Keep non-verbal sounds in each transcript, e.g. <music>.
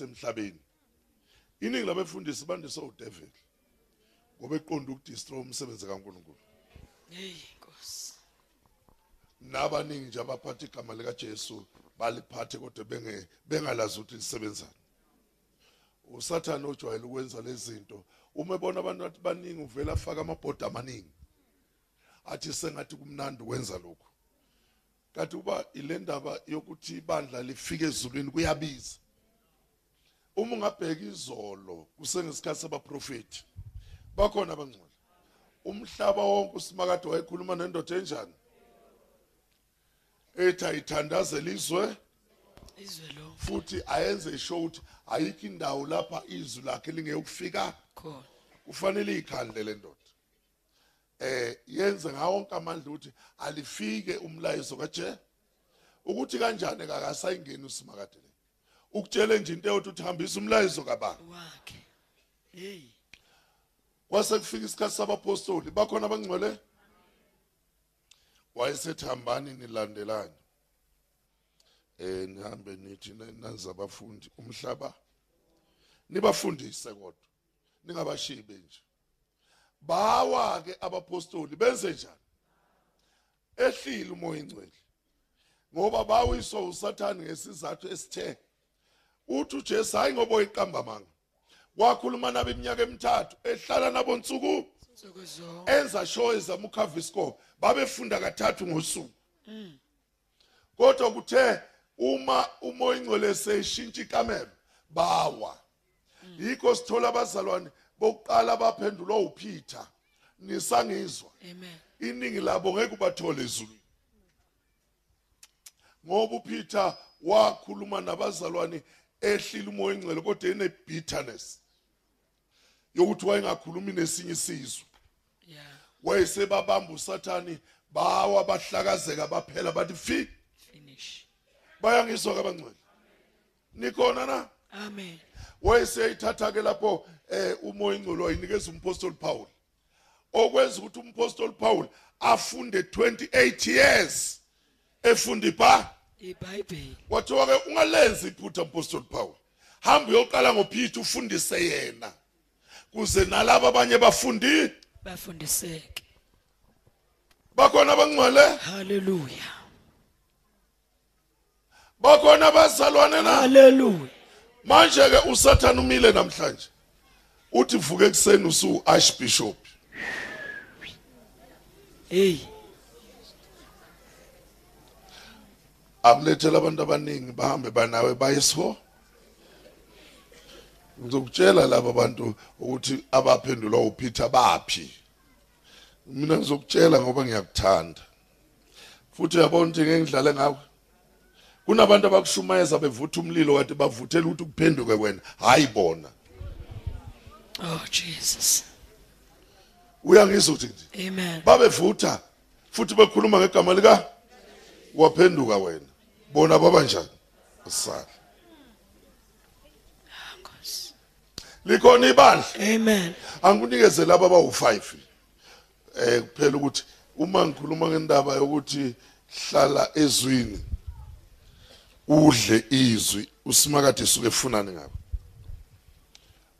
esemhlabeni iningi labefundisi bandise udevil ngoba eqonda ukudestroy umsebenzi kaNkuluNkulu Hey Nkosi. nabaningi nje abaphatha igama lika Jesu baliphathe kodwa benge bengalazi ukuthi lisebenzani usathana ojwayele ukwenza lezi zinto uma ebona abantu athi baningi uvela afaka amabhodi amaningi athi sengathi kumnandi ukwenza lokhu kanti uba ilendaba yokuthi ibandla lifike ezulwini kuyabiza uma ungabheka izolo kusengesikhathi sabaprofeti bakhona abangcola umhlaba wonke usimakade wayekhuluma nendoda enjani ethi ayithandaze lizwe Izwe lo futhi ayenze show ukuthi ayikho indawo lapha izwi lakhe lingeyokufika khona. kufanele ikhandle le ndoda eh yenze ngawo wonke amandla ukuthi alifike umlayezo kaje ukuthi kanjani kakasayingeni usimakade le ukutshele nje into eyothi uthambisa umlayezo kabani Wakhe. Hey. kwase kufika isikhathi sabapostoli bakhona abangcwele wayesethi hambani nilandelane eh nihambe nithi na- nanzi abafundi umhlaba nibafundise kodwa ningabashibe nje bawa ke abapostoli benze njani ehlile umoya ingcwele ngoba bawiswa usathane ngesizathu esithe uthi uJesu hayi ngoba uyiqamba manga wakhuluma nabo iminyaka emithathu ehlala nabo nsuku Nsuku zonke. enza show ezama ukhava isikolo babefunda kathathu ngosuku kodwa kuthe uma umoya ingcwele seyishintsha ikamelo bawa yikho sithola abazalwane bokuqala baphendulwa uPeter nisangizwa Amen. iningi labo ngeke ubathole ezulwini ngoba uPeter wakhuluma nabazalwane ehlila umoya ingcwele kodwa ene bitterness yokuthi wayengakhulumi nesinye isizwe Yeah. wayesebabamba usathani bawa bahlakazeka baphela bathi fi Finish. bayangizwa kabangcwele nikhona na Amen. wayeseyithatha ke lapho eh umoya ingcwele wayinikeza umpostoli Paul okwenza ukuthi umpostoli Paul afunde 28 years efunda ibha IBhayibheli. wathiwa ke ungalenzi iphutha umpostoli Paul hamba uyoqala ngoPeter ufundise yena kuze nalabo abanye bafundi Bafundiseke. bakhona abangcwele Hallelujah. bakhona abazalwane na Hallelujah. manje ke usathana umile namhlanje uthi vuke ekseni usu archbishop Hey. amlethele abantu abaningi bahambe banawe bayeso ngizokutshela laba bantu ukuthi abaphendulwa uPeter baphi mina ngizokutshela ngoba ngiyakuthanda futhi uyabona ukuthi ngeke ngidlale ngawe kunabantu abakushumayeza bevutha umlilo kanti bavuthela ukuthi kuphenduke wena hayi bona Oh Jesus. uyangizwa ukuthi nje Amen. babevutha futhi bekhuluma ngegama lika waphenduka wena bona baba njani asala Nkosi. likhona ibandla Amen. angikunikeze laba abawu5 eh kuphela ukuthi uma ngikhuluma ngendaba yokuthi hlala ezwini udle izwi usimakade suke efunani ngabo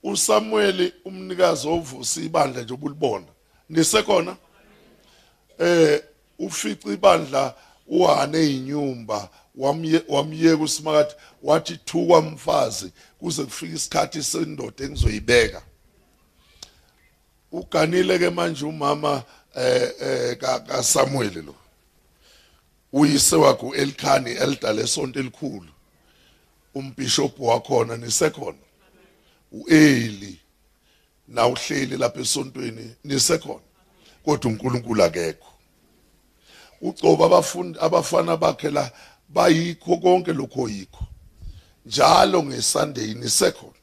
uSamuel umnikazi ovusa ibandla nje ubulibona nisekhona eh ufica ibandla uhane inyumba wamye wamyeka usimakade wathi thuka umfazi kuze kufike isikhathi sendoda engizoyibeka uganile ke manje umama eh eh ka ka Samuel lo uyise wakhe uElkhani eldale esonto elikhulu umbishop wakhona nisekhona uEli na uhleli lapha esontweni nisekhona kodwa uNkulunkulu akekho ucoba abafundi abafana bakhe la bayikho konke lokho yikho njalo ngeSunday nisekhona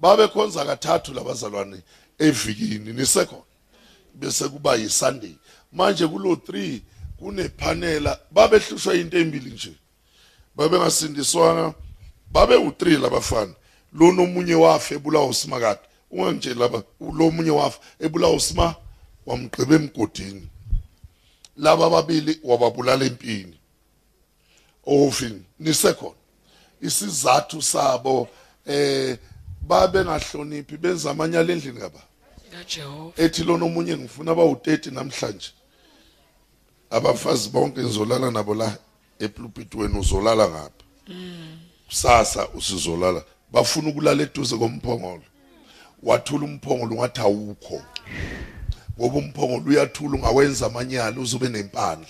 babekhonza kathathu labazalwane evikini nisekhona bese kuba yisunday manje kulo 3 kunephanela babehlushwa into embili nje babengasindiswanga babe u3 labafana lo nomunye wafe ebulawa usimakade ungangitsheli laba lo munye wafe ebulawa usima wamgqiba emgodini laba babili wababulala empini ofini nisekhona isizathu sabo eh babe ngahloniphi benza amanyala endlini kaba kaJehova ethi lona omunye ngifuna abawu30 namhlanje abafazi bonke ngizolala nabo la epulpit wena uzolala ngapha kusasa usizolala bafuna ukulala eduze komphongolo wathula umphongolo ungathi awukho ngoba umphongolo uyathula ungawenza amanyala uzube nempandla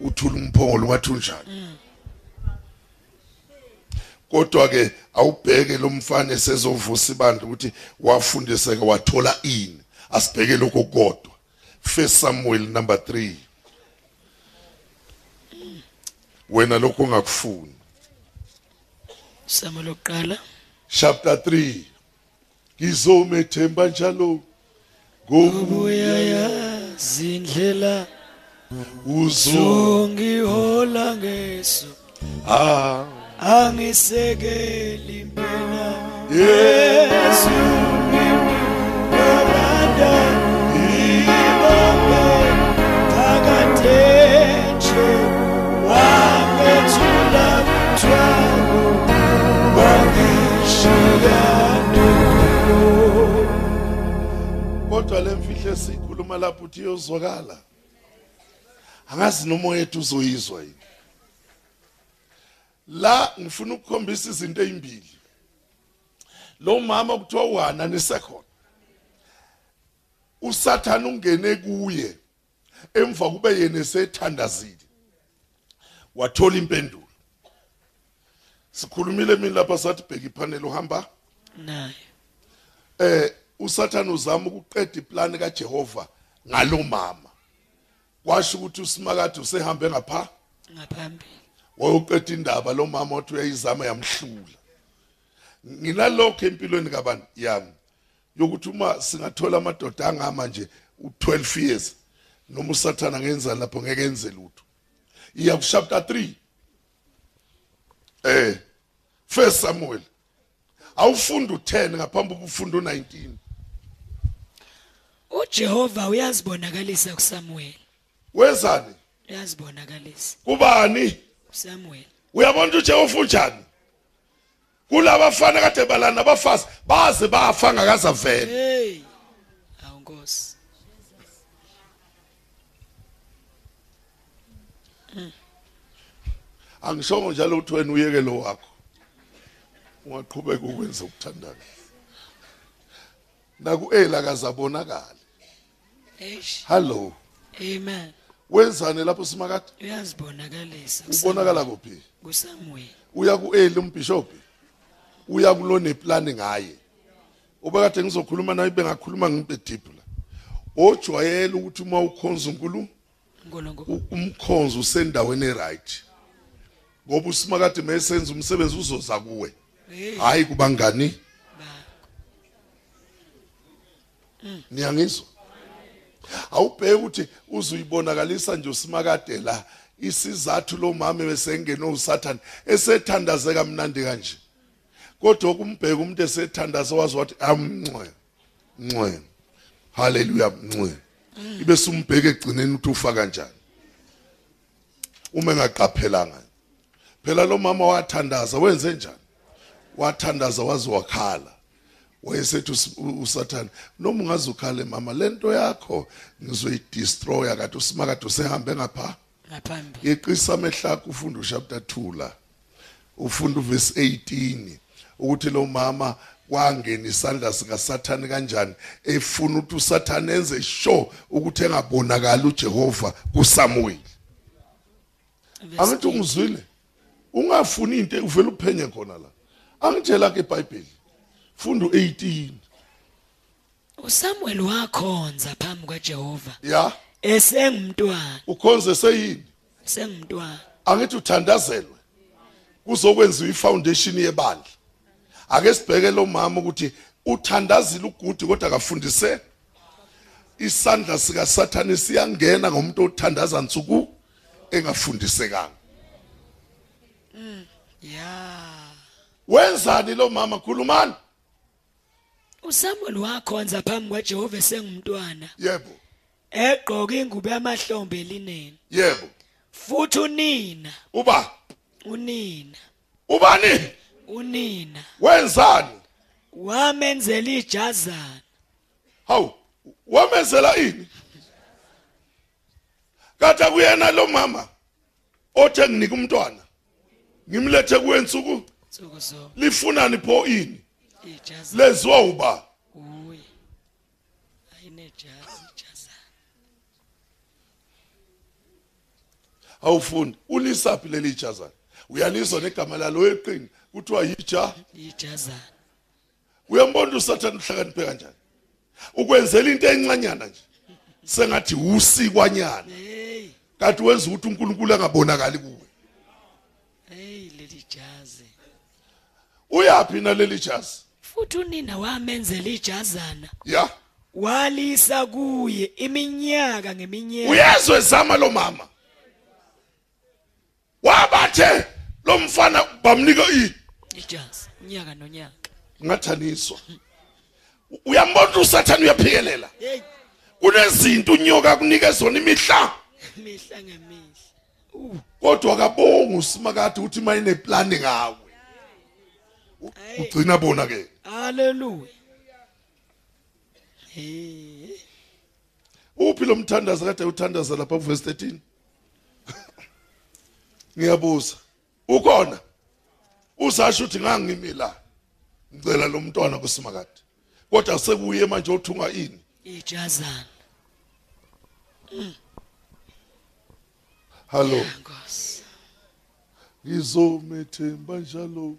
uthula umphongolo ungathi unjani kodwa ke awubheke lo mfana esezovusa ibandla ukuthi wafundiseke wathola ini asibheke lokho kodwa first samuel number 3 wena lokho ongakufuni Samuel oqala chapter 3 ngizomethemba njalo ngoba ubuya yazindlela uzo zongihola ngeso ah angisekeli mina yeah Yesu mimi nabanda ibambe takatenje wangethula mthwalo wangishiya kodwa lemfihlo esikhuluma lapho uthi iyozwakala angazi nomoya ethu uzoyizwa yini la ngifuna ukukhombisa izinto ezimbili lo mama kuthiwa uhana nisekhona usathana ungene kuye emva kube yena esethandazile wathola impendulo sikhulumile mina lapha sathi bheka iphaneli uhamba naye eh usathana uzama ukuqeda iplan kaJehova ngalomama kwasho ukuthi usimakade usehambe ngapha ngaphambili wayoqeda indaba lomama othi uyayizama yamhlula nginalokho empilweni kabantu yami yokuthi uma singathola amadoda angama nje u12 years noma usathana ngenza lapho ngeke enze lutho iya ku chapter 3 eh first Samuel awufunda u10 ngaphambi kokufunda u19 uJehova uyazibonakalisa kuSamuel wezani uyazibonakalisa kubani kuSamuel uyabona ukuthi uJehova unjani kulabafana kade balana abafazi baze bafa ngakaza vele hey awunkosi angishongo njalo ukuthi wena uyekelo wakho ungaqhubeka ukwenza ukuthandana naku Ela kazabonakala eish hallo amen wenzani lapho simakade uyazibonakalisa ubonakala kuphi kuSamuel uya ku Eli umbishop uya kulone plan ngaye obekade ngizokhuluma naye bengakhuluma ngibediphu la ojwayele ukuthi uma ukhonza uNkulunkulu ngolongo u- umkhonzo usendaweni eright ngoba usimakade mayesenza umsebenzi uzoza kuwe hey hayi kubangani ba niyangizwa awubheke ukuthi uzuyibonakalisa nje usimakade la isizathu lomama besengene usathane esethandaze kamnandi kanje kodwa kumbheka umuntu esethandaze wazi wathi amncwe ncwe haleluya mncwe ibe simbheke egcineni ukuthi ufa kanjani uma engaqaphelanga phela lo mama wathandaza wenze njani wathandaza waze wakhala wayesethi us- u- usathane noma ungazukhale mama lento yakho ngizoyidestroya kade usimakade usehambe ngapha ngaphambili yeqisa amehlo akho ufunda uchapter 2 la ufunda uverse 18 ukuthi lo mama kwangena isandla sikasathane kanjani efuna ukuthi usathane enze sure ukuthi engabonakali uJehova kuSamuel angithi ungizwile ungafuni into uvela uphenye khona la angitshela ke iBhayibheli funda u18 uSamuel wakhonza phambi kaJehova ya esengumntwana ukhonze seyini sengumntwana angithi uthandazelwe kuzokwenziwa ifoundation yebandla ake sibheke lo mama ukuthi uthandazile ugudi kodwa akafundise isandla sika sathani siyangena ngomuntu othandaza nsuku engafundisekanga ya wenzani lo mama khulumani uSamuel wakhonza phambi kaJehova esengumntwana yebo egqoka ingubo yamahlombe elinene yebo futhi unina uba unina ubani unina wenzani wamenzela ijazana hawu wamezela ini kade kuyena lo mama othe nginika umntwana ngimlethe kuwensuku nsuku zonke lifunani pho ini ijazana lenziwa uba uye ayinejazi ijazana awufundi ulisaphi leli ijazana uyalizwa negama lalo eqingi kuthiwa yija ijazana uyambona usathane uhlakaniphe kanjani ukwenzela into encanyana nje sengathi usikwanyana hey kanti wenza ukuthi uNkulunkulu angabonakali kuwe hey leli jazi uyaphi naleli jazi futhi unina wamenzela ijazana ya walisa kuye iminyaka ngeminyaka uyezwe zama lo mama wabathe lo mfana bamnika i ijazi unyaka nonyaka ngathaniswa U- uyambona ukuthi usathane uyaphikelela hey <laughs> kunezinto unyoka kunike zona imihla mihla ngemihla kodwa kabonga usimakade ukuthi mayine plan ngawe U- Hey. ugcina bona ke haleluya hey uphi lo mthandazo kade uthandaza lapha verse 13 <laughs> ngiyabuza ukhona uzasho ukuthi ngangimila ngicela lo mntwana kusimakade kodwa sekuye manje othunga ini ijazana hallo nkosi ngizomethemba njalo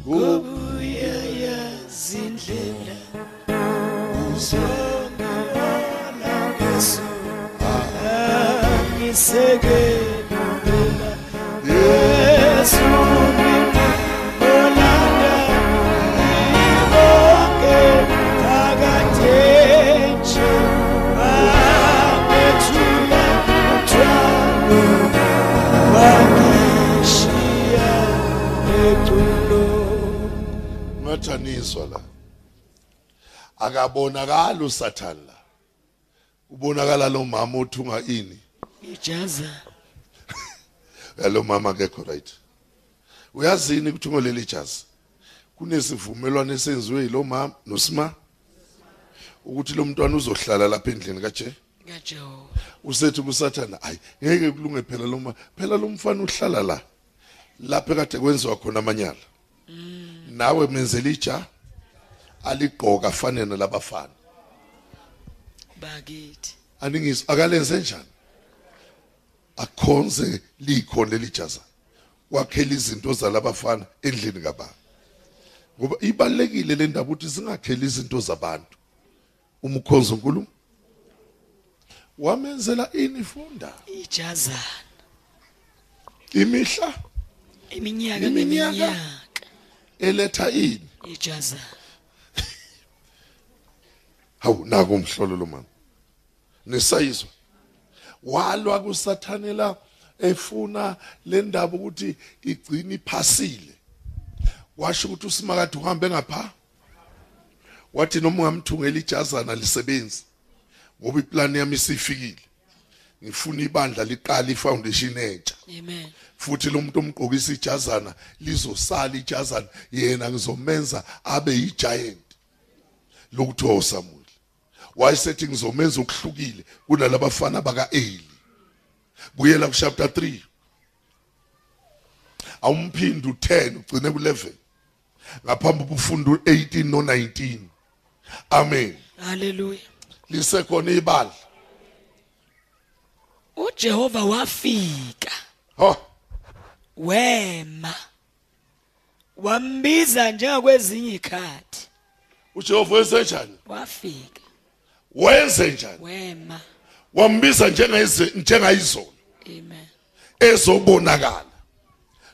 ngoba zindlela ngisekela Yesu mina olanda bonke phakathi bethula uthwalo wangishiya eculweni ngathaniswa la akabonakala usathane la ubonakala lo mama othunga ini ijaza yalo mama akekho right uyazini ukuthunga leli jazi kunesivumelwano esenziwe yilo mama nosima ukuthi lo mntwana uzohlala lapha endlini kaje ngajehova usethi kusathana hayi ngeke kulunge phela lo mama phela lo mfana uhlala la lapho kade kwenziwa khona amanyala nawe menzela ija aligqoka afane nalabafana bakithi aningizwa akalenze njani akhonze likhona lelijaza kwakhela izinto zalabafana endlini kabani ngoba ibalekile le ndaba ukuthi singakheli izinto zabantu umkhonzo uNkulunkulu wamenzela ini funda ijaza imihla iminyaka Iminyaka. ngeminyaka eletha ini ijaza hawu naku umhlolo lo mama nesayizwa walwa kusathanela efuna le ndaba ukuthi igcine iphasile washo ukuthi usimakade uhambe ngapha wathi noma ungamthungela ijazana lisebenzi ngoba iplani yami isifikile ngifuna ibandla liqala ifoundation entsha amen futhi lo muntu omgqokisa ijazana lizosala ijazana yena ngizomenza abe yigiant lokuthiwa uSamuel wayesethi ngizomenza okuhlukile kunalabafana baka Eli buyela ku chapter 3 awumphindi u10 ugcine ku11 ngaphambi kufunda u18 no19 amen haleluya lisekhona ibandla uJehova wafika ho wema wambiza njengakwezinye ikhathi uJehova wenze njani wafika wenze njani wema wambiza njengeze njengayizolo amen ezobonakala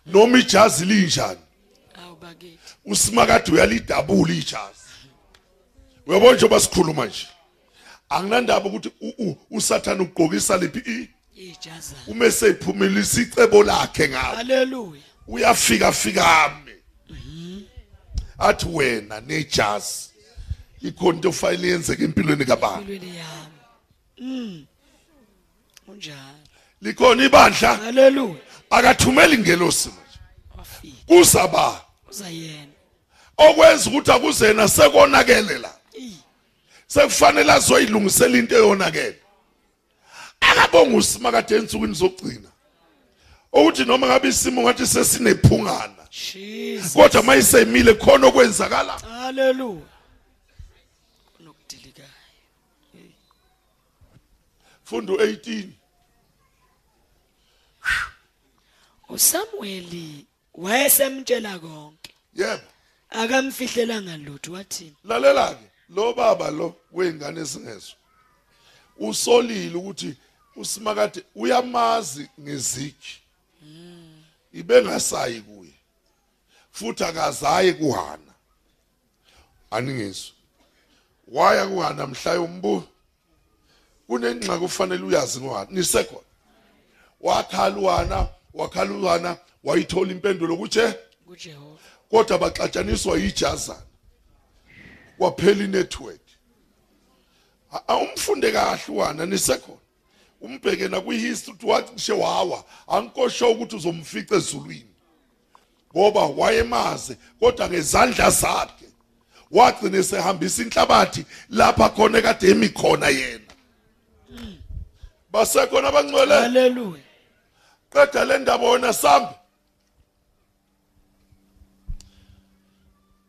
noma ijazi linjani awubakithi usimakade uyalidabula ijazi uyabona njengoba sikhuluma nje anginandaba ukuthi u- u- usathane ugqokisa liphi i ijaza ume seyiphumile isicebo lakhe ngawo haleluya uyafika fikame athi wena nejazi ikhona into ofanele yenzeke empilweni kabani impilweni yami mm unjani likhona ibandla haleluya akathumeli ngelosi manje wafika kuzaba uza yena okwenza ukuthi akuzena sekonakele la i sekufanele azoyilungisela into eyonakele akabonga usima kade ensukwini zokugcina ukuthi noma ngabe isimo ngathi sesinephungana jesus kodwa mayisemile khona okwenzakala haleluya kunokudilikayo fundo 18 usamuweli wayesemtshela konke yebo akamfihlelanga lutho wathini lalela ke lo baba lo wengane singezwe usolile ukuthi usimakade uyamazi ngezigi ibengasayi kuye futhi akazayi kuhana aningizwe waya kuhana mhla yombuzo kunengxaki kufanele uyazi ngohana nisekhona wakhala uHana wakhala uHana wayithola impendulo kutshe kujehova kodwa baxatshaniswa yijazana kwaphela inetwork A- awumfunde kahle uwana nisekhona umbheke nakwihistory ukuthi wathi kushe wawa ankosho ukuthi uzomfica ezulwini ngoba wayemaze kodwa ngezandla zakhe wagcina esehambisa inhlabathi lapha khona ekade emi khona yena basekhona abangcwele haleluya qeda le ndaba wena sambe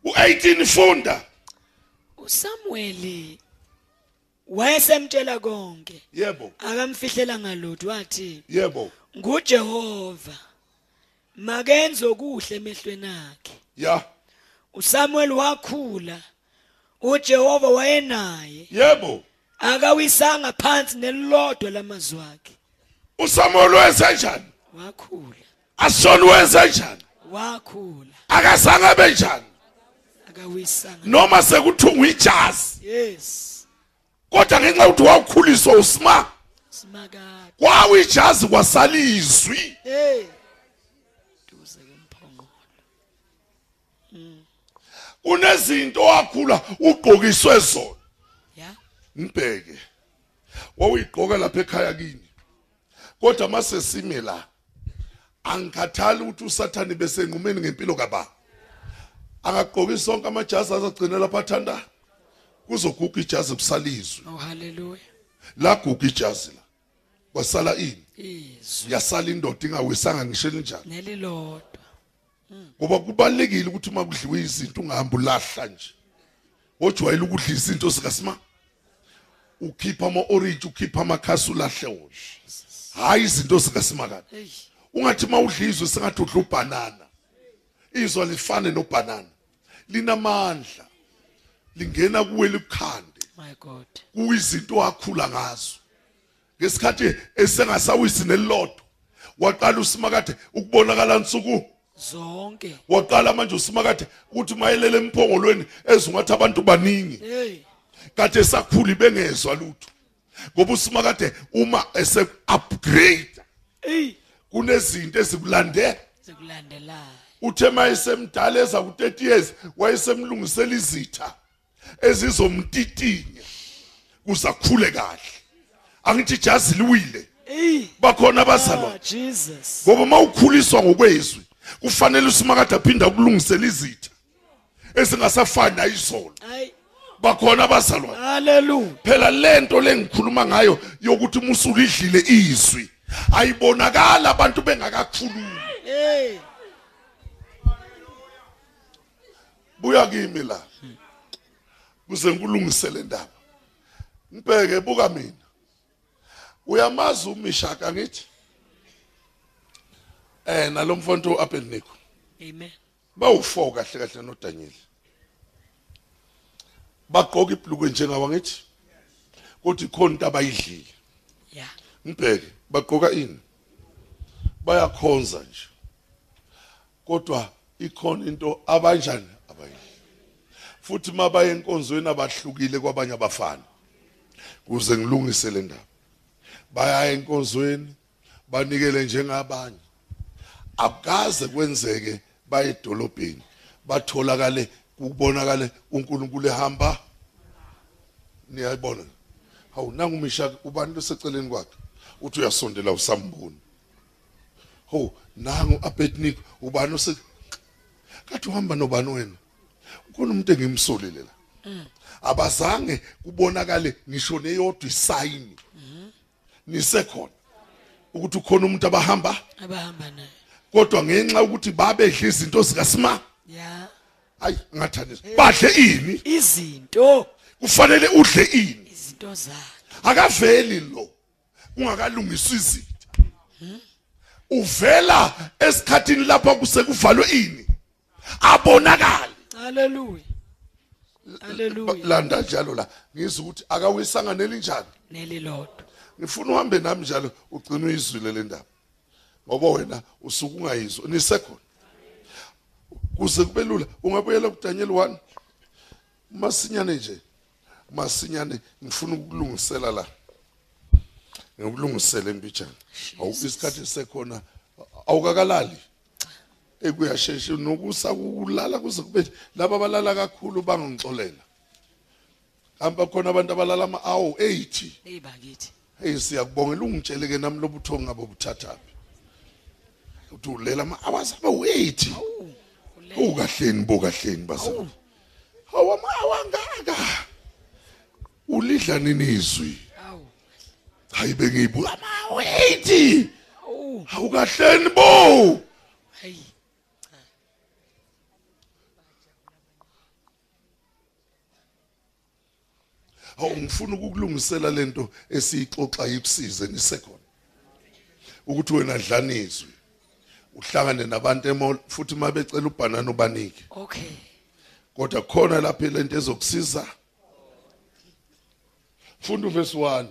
u18 funda usamuweli wayesemtshela konke yebo akamfihlelanga lutho wathini yebo ngujehova makenze okuhle emehlweni akhe ya uSamuel wakhula uJehova wayenaye yebo akawisanga phansi nelilodwa lamazwi akhe uSamuel wenze njani wakhula asona wenze njani wakhula akazange benjani akawisanga noma sekuthunga ijazi yes kodwa ngenxa yokuthi wawukhuliswa usma simakade kwawi ijazi kwasalizwi hey duze kemphongolo kunezinto wakhula ugqokiswe zona ya Mbheke. Wawuyigqoka lapha ekhaya kini. Kodwa mase sime la. Angikhathali ukuthi uSathane bese enqumeni ngempilo kaBaba. Akagqoki sonke amajazi azagcina lapha athanda. Kuzoguga ijazi kusalizwe. oh haleluya La guga ijazi la. Kwasala ini? izwi Yasala indoda ingawisanga ngishela njalo. nelilodwa Ngoba kubalekile ukuthi uma kudliwe izinto ungahamba ulahla nje. Ojwayele ukudla izinto sikaSima. Ukhipha ama orange, ukhipha amakhasi ulahle wona. hayi izinto zikaSimakade hey ungathi mawudlizwe sengathi udla ubanana izwa lifane nobanana linamandla lingena kuwe likhande my god kuyizinto wakhula ngazo ngesikhathi esengasawisi nelodo waqala usimakade ukubonakala nsuku zonke waqala manje usimakade ukuthi mayelele emphongolweni ezungathi abantu baningi hey kade sakhuli bengezwa lutho ngoba usimakade uma ese upgrade hey kunezinto ezikulande sekulandelayo uthe mayesemdala eza ku30 years wayesemlungisela izitha ezizomtitinya kuzakhule kahle angithi jazi liwile hey bakhona ah abazalwa jesus ngoba mawukhuliswa ngokwezwi kufanele usimakade aphinda kulungisela izitha ezingasafani nayizolo ay bakhona abazalwa haleluya phela lento lengikhuluma ngayo yokuthi umusuku idlile izwi ayibonakala abantu bengakakhulumi hey buya kimi la kuze nkulungisele indaba ngibheke buka mina uyamazi umishaka ngithi eh nalomfonto uAbednego amen bawu4 kahle kahle noDaniel bagqoka ibhlukwe njengawa ngithi kodwa ikhona into abayidlile ya ngibheke bagqoka ini bayakhonza nje kodwa ikhona into abanjani abayidli futhi mabaye enkonzweni abahlukile kwabanye abafana kuze ngilungise le ndaba bayaya enkonzweni banikele njengabanye akukaze kwenzeke baye edolobheni batholakale kubonakale uNkulunkulu ehamba niyayibona hawu nangu umishaka ubani loseceleni kwakhe uthi uyasondela usambuni ho nangu abednico ubani ose kathi uhamba nobani wena kukhona umuntu engimsulile la abazange kubonakale ngisho neyodwa isayini nisekhona ukuthi khona umuntu abahamba abahamba naye kodwa ngenxa ukuthi babedla izinto zikaSma ya hayi ngathandisa badle ini izinto kufanele udle ini izinto zakhe akaveli lo ungakalungiswa izinto uvela esikhatini lapho kusekuvalwe ini abonakala haleluya haleluya landa njalo la ngizwe ukuthi akawisanga nelinjani nelilodwa ngifuna uhambe nami njalo ugcine uyizwile le ndaba ngoba wena usuke ungayizwa nisekhona kuze kube lula ungabuyela kuDaniel 1 masinyane nje masinyane ngifuna ukulungisela la ngikulungisele impijana awu isikhathi sekhona awukakalali ekuyasheshe nokusa kulala kuze kube laba abalala kakhulu bangixolela hamba khona abantu abalala ama hour 80 hey bakithi hey siyakubongela ungitshele ke nami lobuthongo ngabo buthathaphi uthi ulela ama hours aba 80 ukahleni bokahleni bazalo hawa ma wangaka ulidla nini izwi awu hayi bengiyibu ama 80 awu awukahleni bo hayi hawu ngifuna ukukulungisela lento esiyixoxa ikusize nisekhona ukuthi wena dlanizwe uhlangane nabantu emall futhi mabecela ubhanana ubanike okay kodwa khona lapha lento ezokusiza funda verse 1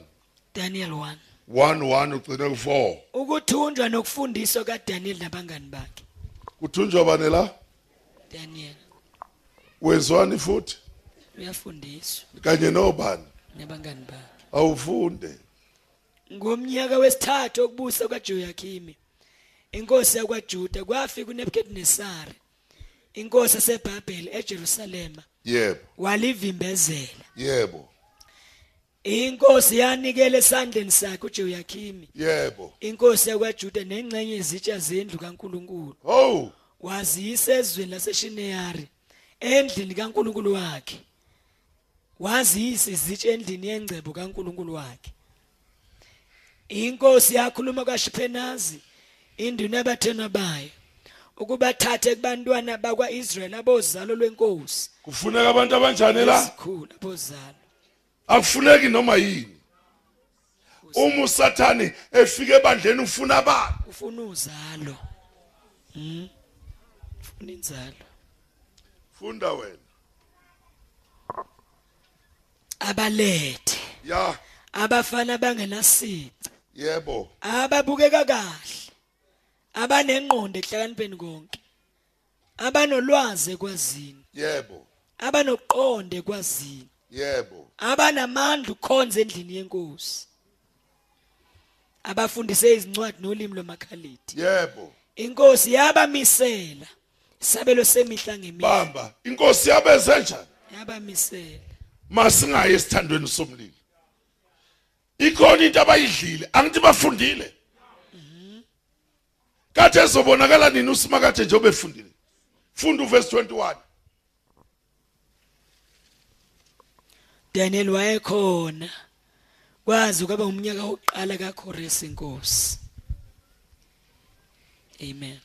Daniel 1 1 1 ugcina ku4 ukuthunjwa nokufundiswa kaDaniel nabangani bakhe kuthunjwa bane la Daniel wezwani futhi uyafundiswa kanye nobani nabangani bakhe awufunde ngomnyaka wesithathu okubusa kaJoyakhimi inkosi yakwaJuda kwafika uNebukadnezar inkosi yaseBhabheli eJerusalema yebo walivimbezela yebo inkosi yanikele esandleni sakhe uJoyakhimi yebo inkosi yakwaJuda nengcenye izitsha zendlu kaNkuluNkulu oh waziyisa ezweni laseShineyari endlini kaNkulunkulu wakhe waziyisa izitshe endlini yengcebo kaNkulunkulu wakhe inkosi yakhuluma kwaShipenazi induna yabathenwa bayo ukubathathe kubantwana bakwaIsrayeli abozalo lwenkosi kufuneka abantu abanjani la esikhulu abozalo akufuneki noma yini uma usathani efike ebandleni ufuna abantu ufuna uzalo mhm ufuna inzalo funda wena abalethe ya abafana bangenasici yebo ababukeka kahle abanengqondo ehlakanipheni konke abanolwazi ekwazini yebo abanoqonde ekwazini yebo abanamandla ukukhonza endlini yenkosi abafundise izincwadi nolimi lomakhalidi yebo inkosi yabamisela isabelo semihla ngemihla bamba inkosi yabeze njani yabamisela masingaye esithandweni somlilo ikhona into abayidlile angithi bafundile kathi ezobonakala nini usimakade nje obefundile funda uverse 21 Daniel wayekhona kwazi kwaba umnyaka oqala kaKhoresi inkosi Amen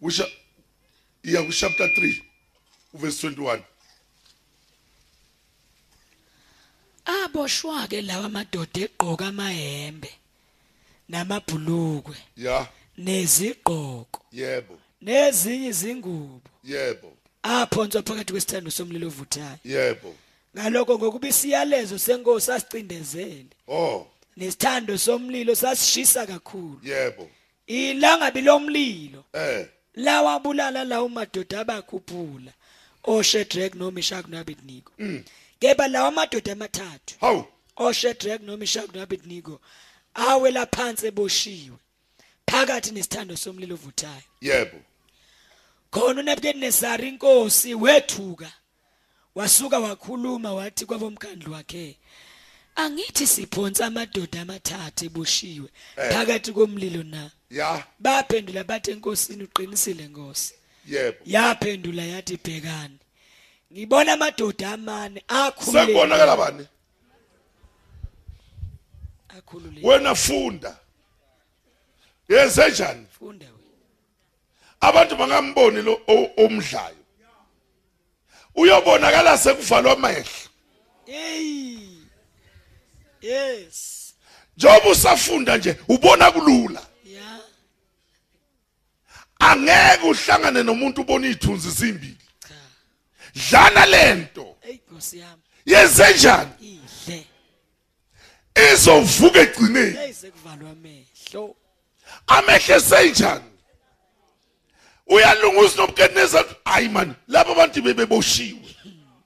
kusha iya ku chapter 3 uverse 21 aboshwa ke lawa madoda egqoka amahembe namabhulukwe ya nezigqoko yebo nezinye izingubo yebo aphonswa phakathi kwesithando somlilo ovuthayo yebo ngalokho ngokuba isiyalezo senkosi asicindezele oh nesithando somlilo sasishisa kakhulu yebo ilangabi lomlilo eh lawabulala lawo madoda abakhuphula oShedrack noMeshach noAbednego kepha lawo madoda amathathu hawu oShedrack noMeshach noAbednego awela phansi eboshiwe phakathi nesithando somlilo ovuthayo yebo khona uNebukadnezar inkosi wethuka wasuka wakhuluma wathi kwabomkhandlu wakhe angithi siphonsa amadoda amathathu eboshiwe phakathi komlilo na ya baphendula bathi enkosini uqinisile nkosi yebo yaphendula yathi bhekani ngibona amadoda amane akhululekile sekubonakala bani akhululekile wena funda yenze njani funda wena abantu bangamboni lo o- omdlayo uyobonakala sekuvalwa amehlo hey yes njengoba usafunda nje ubona kulula ya angeke uhlangane nomuntu ubona iy'thunzi zimbili cha dlana lento hey nkosi yami yenze njani idle izovuka egcineni hey sekuvalwa amehlo amehlo esenjani uyalunga usinobukadineza hayi mani laba bantu bebeboshiwe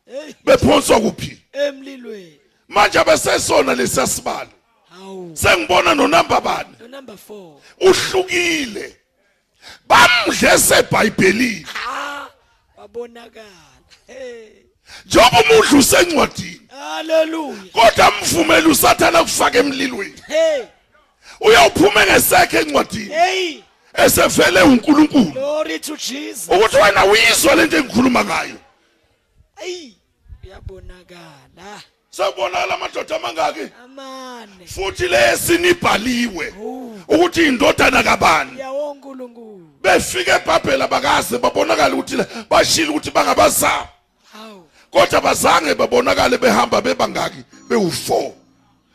hey bephonswa kuphi emlilweni manje abesesona lesiyasibalo hawu sengibona nonamba bani no number 4 uhlukile bamdle esebhayibhelini ah wabonakala hey njengoba umudla usencwadini haleluya kodwa mvumele usathana kufaka emlilweni hey uyawuphuma ngesekho encwadini hey esevele unkulunkulu glory to jesus ukuthi wena uyizwa le nto engikhuluma ngayo hey uyabonakala sekubonakala amadoda amangaki amane futhi lesinibhaliwe Oh. ukuthi indodana kabani yawonkulunkulu befika ebhabhela bakaze babonakala ukuthi la- bashilo ukuthi bangabazama hawu kodwa bazange babonakale behamba bebangaki bewu4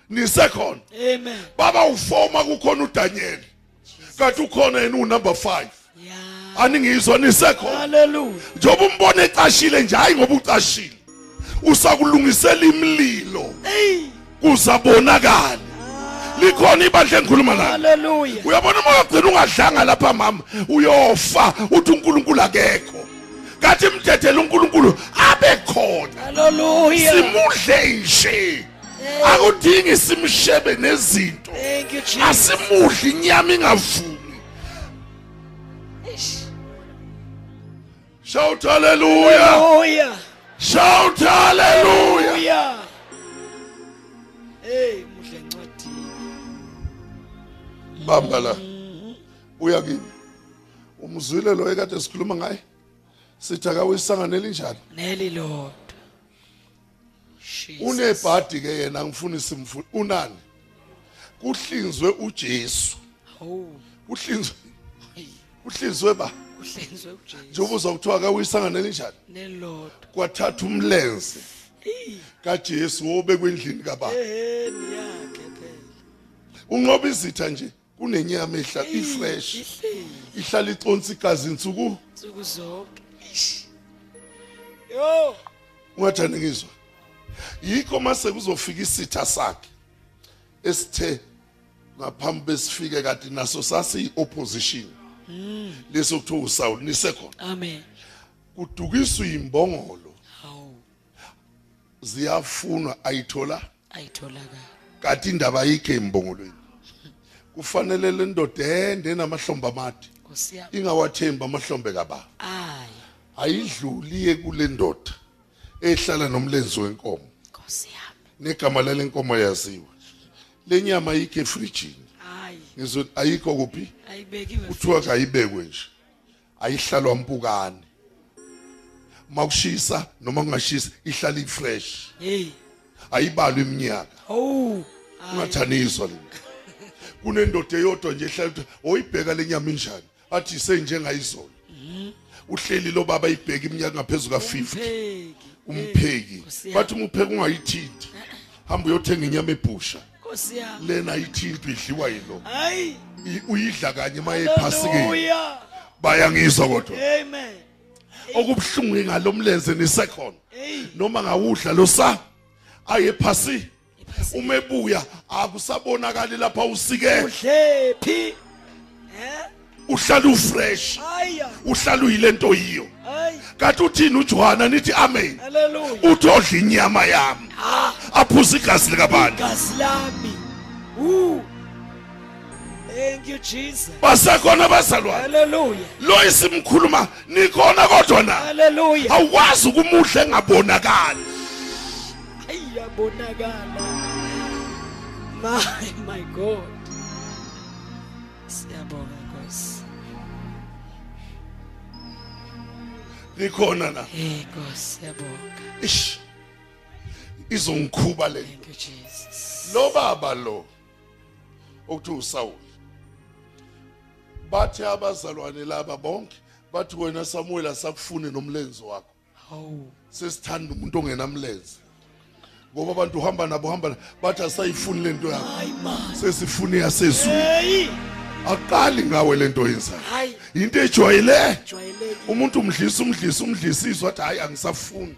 nisekhona amen baba u4 makukhona uDaniel kanti ukhona yena unumber 5 ya aningizwa nisekhona haleluya njengoba umbone ecashile nje hayi ngoba ucashile usakulungisela imlilo hey kuzabonakala likhona ibandla engikhuluma ngalo haleluya uyabona uma ugcina ungadlanga lapha mama uyofa uthi uNkulunkulu akekho kanti imdedela uNkulunkulu abe khona haleluya simudle nje akudingi simshebe nezinto thank you jesus asimudli inyama ingavumi Eish. shout haleluya haleluya shout haleluya Hallelujah. Hey, muhle ncwadi. bamba la buya kimi umzwile lo ekade sikhuluma ngaye sithi akawisangane linjani Neli Lord. Jesus. unebhadi ke yena ngifuna simfuna unani kuhlinzwe uJesu Oh, kuhlinzwe hey, kuhlinzwe ba uhlenzwe uJesu. njengoba uzokuthiwa akawisangane linjani Neli Lord. kwathatha umlenze kaJesu obekwe endlini kababa Eheni yakhe phela. unqoba izitha nje kunenyama ehlala ifresh Ihle ihlala iconsa igazi insuku nsuku zonke. Eish. Yo, ungathani ngizwa yikho mase kuzofika isitha sakhe esithe ngaphambi besifike kade naso sasiyi opposition leso kuthiwa uSaul nisekhona amen. kudukiswa imbongolo Hawu, ziyafunwa ayithola ayitholakala. kanti indaba ayikho embongolweni kufanele le ndoda ende namahlombe amade Nkosi yami. ingawathemba amahlombe kababa Ay, ayidluliye kule ndoda ehlala nomlenzi wenkomo Nkosi yami. negama lale nkomo yaziwa lenyama ayikho efrijini Ay, ngizwe ayikho kuphi ayibekiwe. kuthiwa kayibekwe nje ayihlalwa mpukane makushisa noma kungashisa ihlala ifresh Hey. ayibalwa iminyaka Oh. ungathaniswa le kunendoda eyodwa nje ehlala ukuthi oyibheka lenyama injani athi senjengayizolo uhleli lo baba ibheka iminyaka ngaphezulu ka50 Pheki. umpheki Nkosi yami. bathi umupheki ungayithinti hamba uyothenga inyama ebhusha Nkosi yami. lena ayithinti idliwa Mm. yilo Hayi. I- uyidla kanye maye ephasikeni Hallelujah. bayangizwa kodwa Amen. okubhlungu ngalomlenze nisekhona Hey. noma ngawudla losa aye phasi Ephasi. umebuya akusabonakali lapha usike Udlephi? Eh? uhlala ufresh Aya. uhlala uyilento yiyo Hayi. kanti uthini uJohana nithi amen Hallelujah. uthi odla inyama yami Ah, aphuza igazi likabani gaslami. Woo. Thank you Jesus. basekhona bazalwane Hallelujah. lo isimkhuluma nikhona kodwa na Hallelujah. awukwazi ukumuhle engabonakali Ayabonakala. My my God. Siyabonga. likhona na Eh Nkosi siyabonga. ish izongikhuba le Thank you Jesus. lo baba lo okuthi uSaul bathi abazalwane laba bonke bathi wena Samuel asakufuni nomlenzi wakho Oh. sesithanda umuntu ongenamlenze ngoba abantu uhamba nabo uhamba na- bathi asayifuni lento yakho Hayi man. sesifuni yasezulu Hey! aqali ngawe lento yenzayo Hayi into ejwayele jwayeleki. umuntu umdlisa umdlisa umdlisizwa athi hayi angisafuni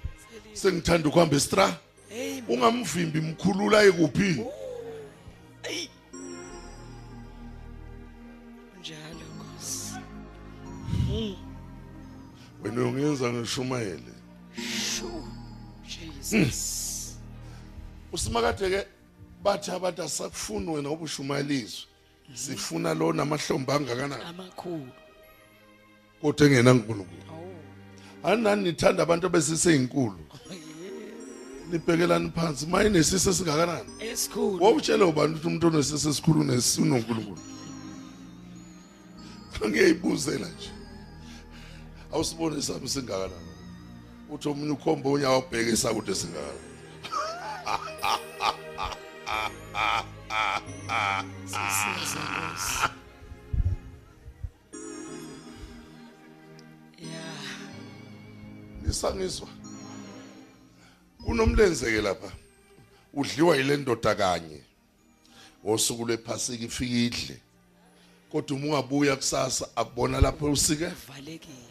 sengithanda ukuhamba estra Hey. ungamvimbi mkhulula ekuphi Hey. Njalo Nkosi. wena uyongenza ngishumayele Shu. Jesus. usimakade ke bathi abantu asakufuni wena ubushumayelizwe sifuna lo namahlombe angakanani Amakhulu. kodwa engenankulunkulu Oh. anani nithanda abantu abesiseyinkulu nibhekelani phansi maye nesisi esingakanani Esikhulu. wawutshele ubani ukuthi umuntu onesisi esikhulu nesinonkulunkulu ngiyayibuzela nje awusibone sami singakanani uthi omunye ukhomba unyawo abheke sakude singakanani Sisiza Nkosi. Yeah. nisangizwa kunomlenzeke lapha udliwa yile ndoda kanye ngosuku lwephasika ifika idle kodwa uma ungabuya kusasa akubona lapho usike uvalekile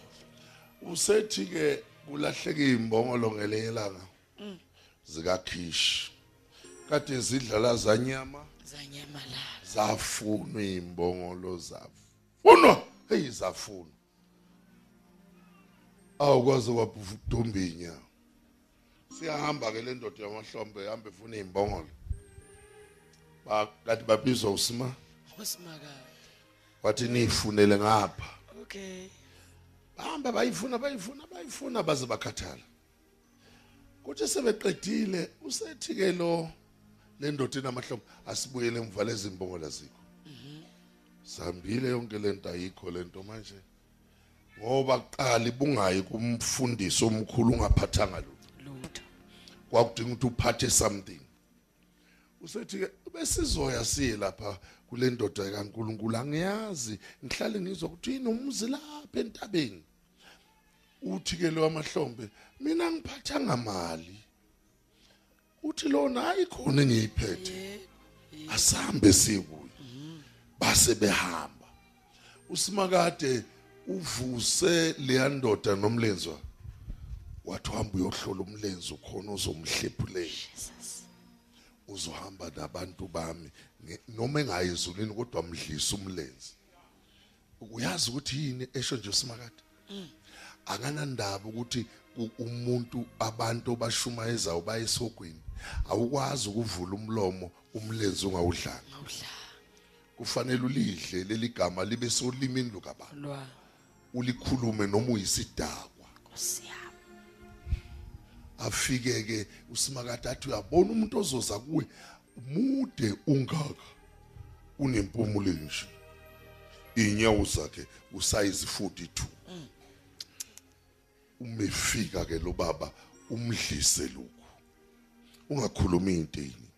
usethi ke kulahleke imbongolo ngelelanga zikakhishi kade zidlala zanyama zanyamalala zafunwa imbongolo zafunwa hey zafunwa awukwazi wabhuva ukudumba inyawo siyahamba ke le ndoda yamahlombe hambe funa imbongolo Ba- kati babizwa usima usimakayo wathi niyifunele ngapha okay bahamba bayifuna bayifuna bayifuna baze bakhathala kuthi sebeqedile usethi ke lo le ndoda enamahlobo asibuyele emva lezimbongola zikho sambile yonke lento ayikho lento manje ngoba kuqala ibungayi kumfundisi omkhulu ungaphathanga lutho lutho kwakudinga ukuthi uphathe something usethi ke besizoya siye lapha kule ndoda kaNkuluNkulu angiyazi ngihlale ngizwa ukuthi inomzi lapha entabeni uthi ke lo amahlombe mina ngiphathanga mali uthi lona hayi khona engiyiphethe asambe sikuyo base behamba usimakade uvuse leya ndoda nomlenzwa wathi hamba uyohlola umlenze khona uzomhlephulela uzohamba nabantu bami nge- noma engayizulwini kodwa mdlisa umlenze uyazi ukuthi yini esho nje usimakade akanandaba ukuthi u- umuntu abantu obashumayezayo bayesogwini awukwazi ukuvula umlomo umlenze ungawudlanga ngawudla kufanele ulidle leli gama libe solimini lukaBaba lwa ulikhulume noma uyisidakwa nkosi yami afike ke usimakade athi uyabona umuntu ozoza kuwe mude ungaka unempumulo nje inyawo zakhe usayizi 42 umefika ke lo baba umdlise lokhu ungakhulumi into yini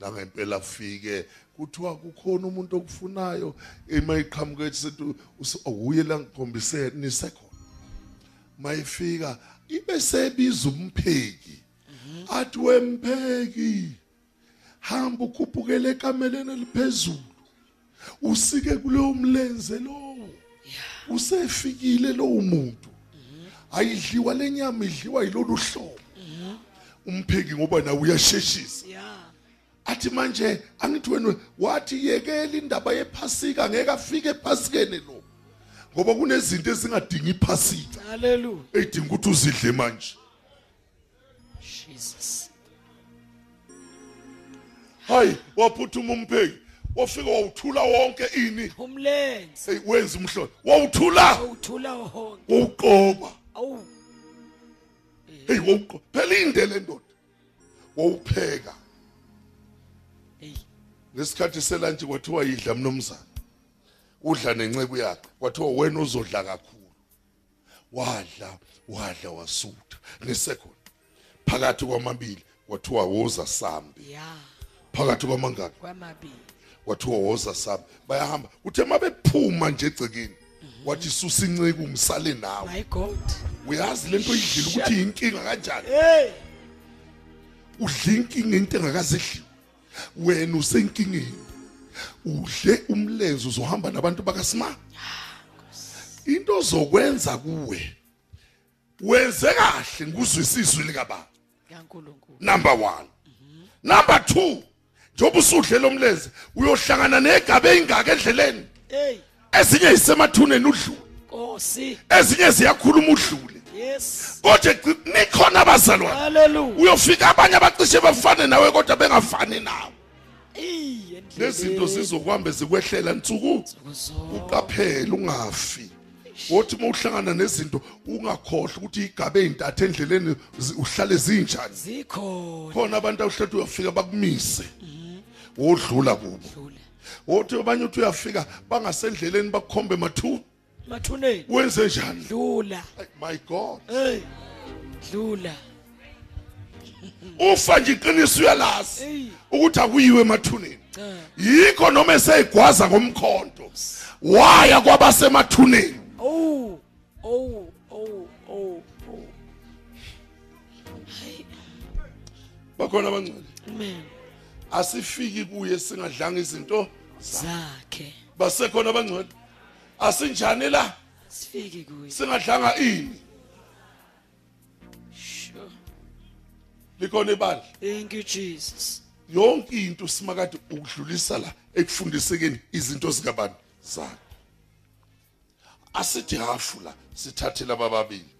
la ngempela afike kuthiwa kukhona umuntu okufunayo emayiqhamuke sethu uye la ngikhombise nisekhona mayifika ibe sebiza umpheki athi wempheki hamba ukhuphukele ekameleni eliphezulu usike kuleyo mlenze lowo usefikile lowo muntu ayidliwa lenyama idliwa yilolu hlobo umpheki ngoba nawe uyasheshisa ya athi manje angithi wena wathi yekela indaba yephasika ngeke afike ephasikeni lo ngoba kunezinto ezingadingi iphasika haleluya edinga ukuthi uzidle manje jesus hayi waphuthuma umpheki wafika wawuthula wonke ini umlenze hey wenza umhlolo wawuthula awuthula wonke wawuqoba awu hey wawuqoba phela inde le ndoda wawupheka hey ngesikhathi selanje kwathiwa yidla mnomzana udla nenceku yakhe kwathiwa wena uzodla kakhulu wadla wadla wasutha nisekhona phakathi kwamabili kwathiwa woza sambi ya phakathi kwamangaka kwamabili kwathiwa woza sambi bayahamba uthe mabephuma nje egcekeni wathi susa inceke umsale nawe my god uyazi lento idlile ukuthi inkinga kanjani hey udle inkinga into engakazidliwa wena usenkingeni udle umlenze uzohamba nabantu bakaSma into zokwenza kuwe wenze kahle ngikuzwisiswe likaba kaNkuluNkulu number 1 number 2 njengoba usudlela umlenze uyohlangana negabe ingaka endleleni hey ezinye isemathuneni udlule Nkosi ezinye ziyakhuluma udlule yes kodwa gci- nikhona abazalwane haleluya uyofika abanye abacishe bafane nawe kodwa bengafani nawe Eh, endleleni. lezinto zizokuhambe zikwehlela nsuku Kuzo- uqaphele ungafi wothi uma uhlangana nezinto ungakhohlwa ukuthi igabe ey'ntatha endleleni zi- uhlale zinjani zikhona khona abantu awuhlethi uyafika bakumise wodlula kubo dlula wothi abanye uthi uyafika bangasendleleni bakukhombe mathuni mathuneni wenze njani dlula Ay, my god hey dlula ufa nje iqiniso uyalazi Eyi. ukuthi akuyiwe emathuneni cha yikho noma eseyigwaza ngomkhonto waya kwabasemathuneni Oh, oh, oh, oh, oh. Hayi, bakhona abangcwele amen. asifiki kuye singadlanga izinto Zakhe. basekhona abangcwele asinjani la Sifike kuye. singadlanga ini Sure. likhona ibandla Thank you Jesus. yonke into simakade ukudlulisa la ekufundisekeni izinto zikabantu zakho asithi hafu la sithathe laba babili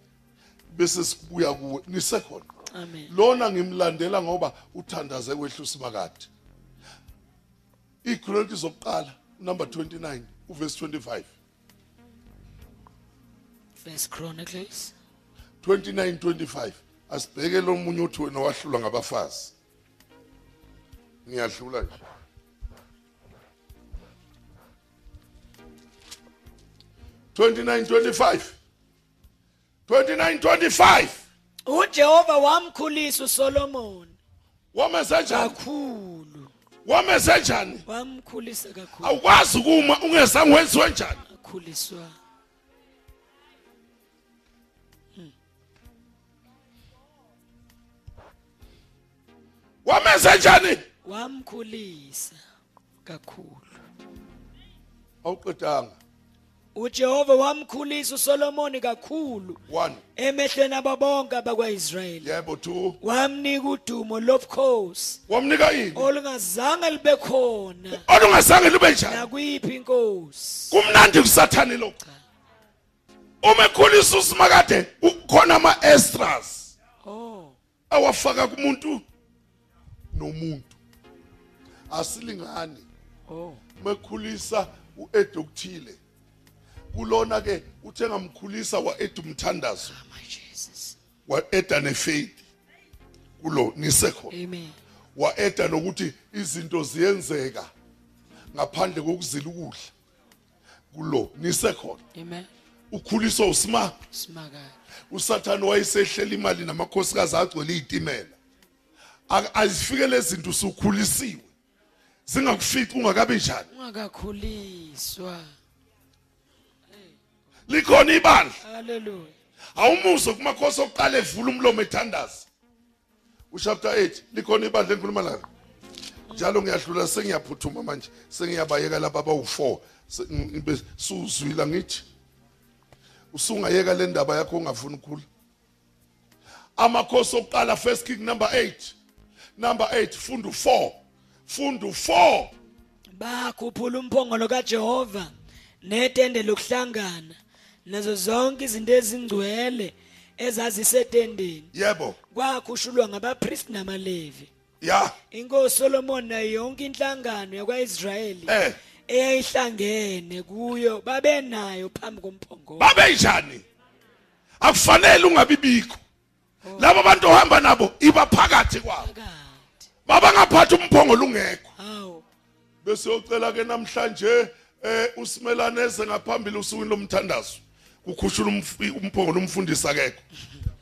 bese sibuya kuwe nisekhona Amen. lona ngimlandela ngoba uthandaze kwehlusa makade iChronicles zokuqala number 29 uverse 25 First Chronicles 29:25 asibheke lo munye uthi wena wahlulwa ngabafazi niyadlula nje Twenty-nine, twenty-five. Twenty-nine, twenty-five. uJehova wamkhulisa uSolomon Wameze njani? kakhulu. Wameze njani? Wamkhulisa kakhulu. Awukwazi kuma ungezange wenziwe njani? Akhuliswa. Wameze njani? Wamkhulisa kakhulu. Awuqedanga. uJehova wamkhulisa uSolomon kakhulu One. emehlweni ababonke abakwaIsrayeli. Yebo two. wamnika udumo lobukhosi Wamnika yini? olungazange libe khona Olungazange lube njani? nakwiphi inkosi kumnandi kusathane lo uma ekhulisa usimakade ukhona ama-extras oh awafaka kumuntu nomuntu asilingani oh mekhulisa u-edukuthile kulona-ke uthe ngamkhulisa wa-eda umthandazo my jesus wa-eda nefaith kulo nisekhona amen wa-eda nokuthi izinto ziyenzeka ngaphandle kokuzila ukudla kulo nisekhona amen ukhuliswa usima simaka usathane wayesehlela imali namakhosikazi agcwele izitimela Ak- azifike lezi zinto usukhulisiwe zingakufici ungakabi njani ungakakhuliswa likhona ibandla haleluya awumuzwe kumakhosi okuqala evula umlomo ethandaza uchapter 8 likhona ibandla engikhuluma lalo njalo ngiyadlula sengiyaphuthuma manje sengiyabayeka laba abawu-4 Se- ng- ngibe- suzwila ngithi usungayeka le ndaba yakho ongafuni ukukhula amakhosi okuqala first king number 8 number 8 funda u4 funda u4 bakhuphula umphongolo kaJehova netende lokuhlangana nazo zonke izinto ezingcwele ezazisetendeni yebo kwakhushulwa ngabapristi nabalevi ya inkosi Solomon nayo yonke inhlangano yakwaIsrayeli Eh. eyayihlangene kuyo babenayo phambi komphongolo babe njani akufanele ungabibikho labo bantu ohamba nabo ibaphakathi kwabo phakathi babangaphatha umphongo lungekho hawo bese uyocela ke namhlanje eh usimelane eze ngaphambili usukwini lomthandazo kukhushula umf- umphongolo umfundisi akekho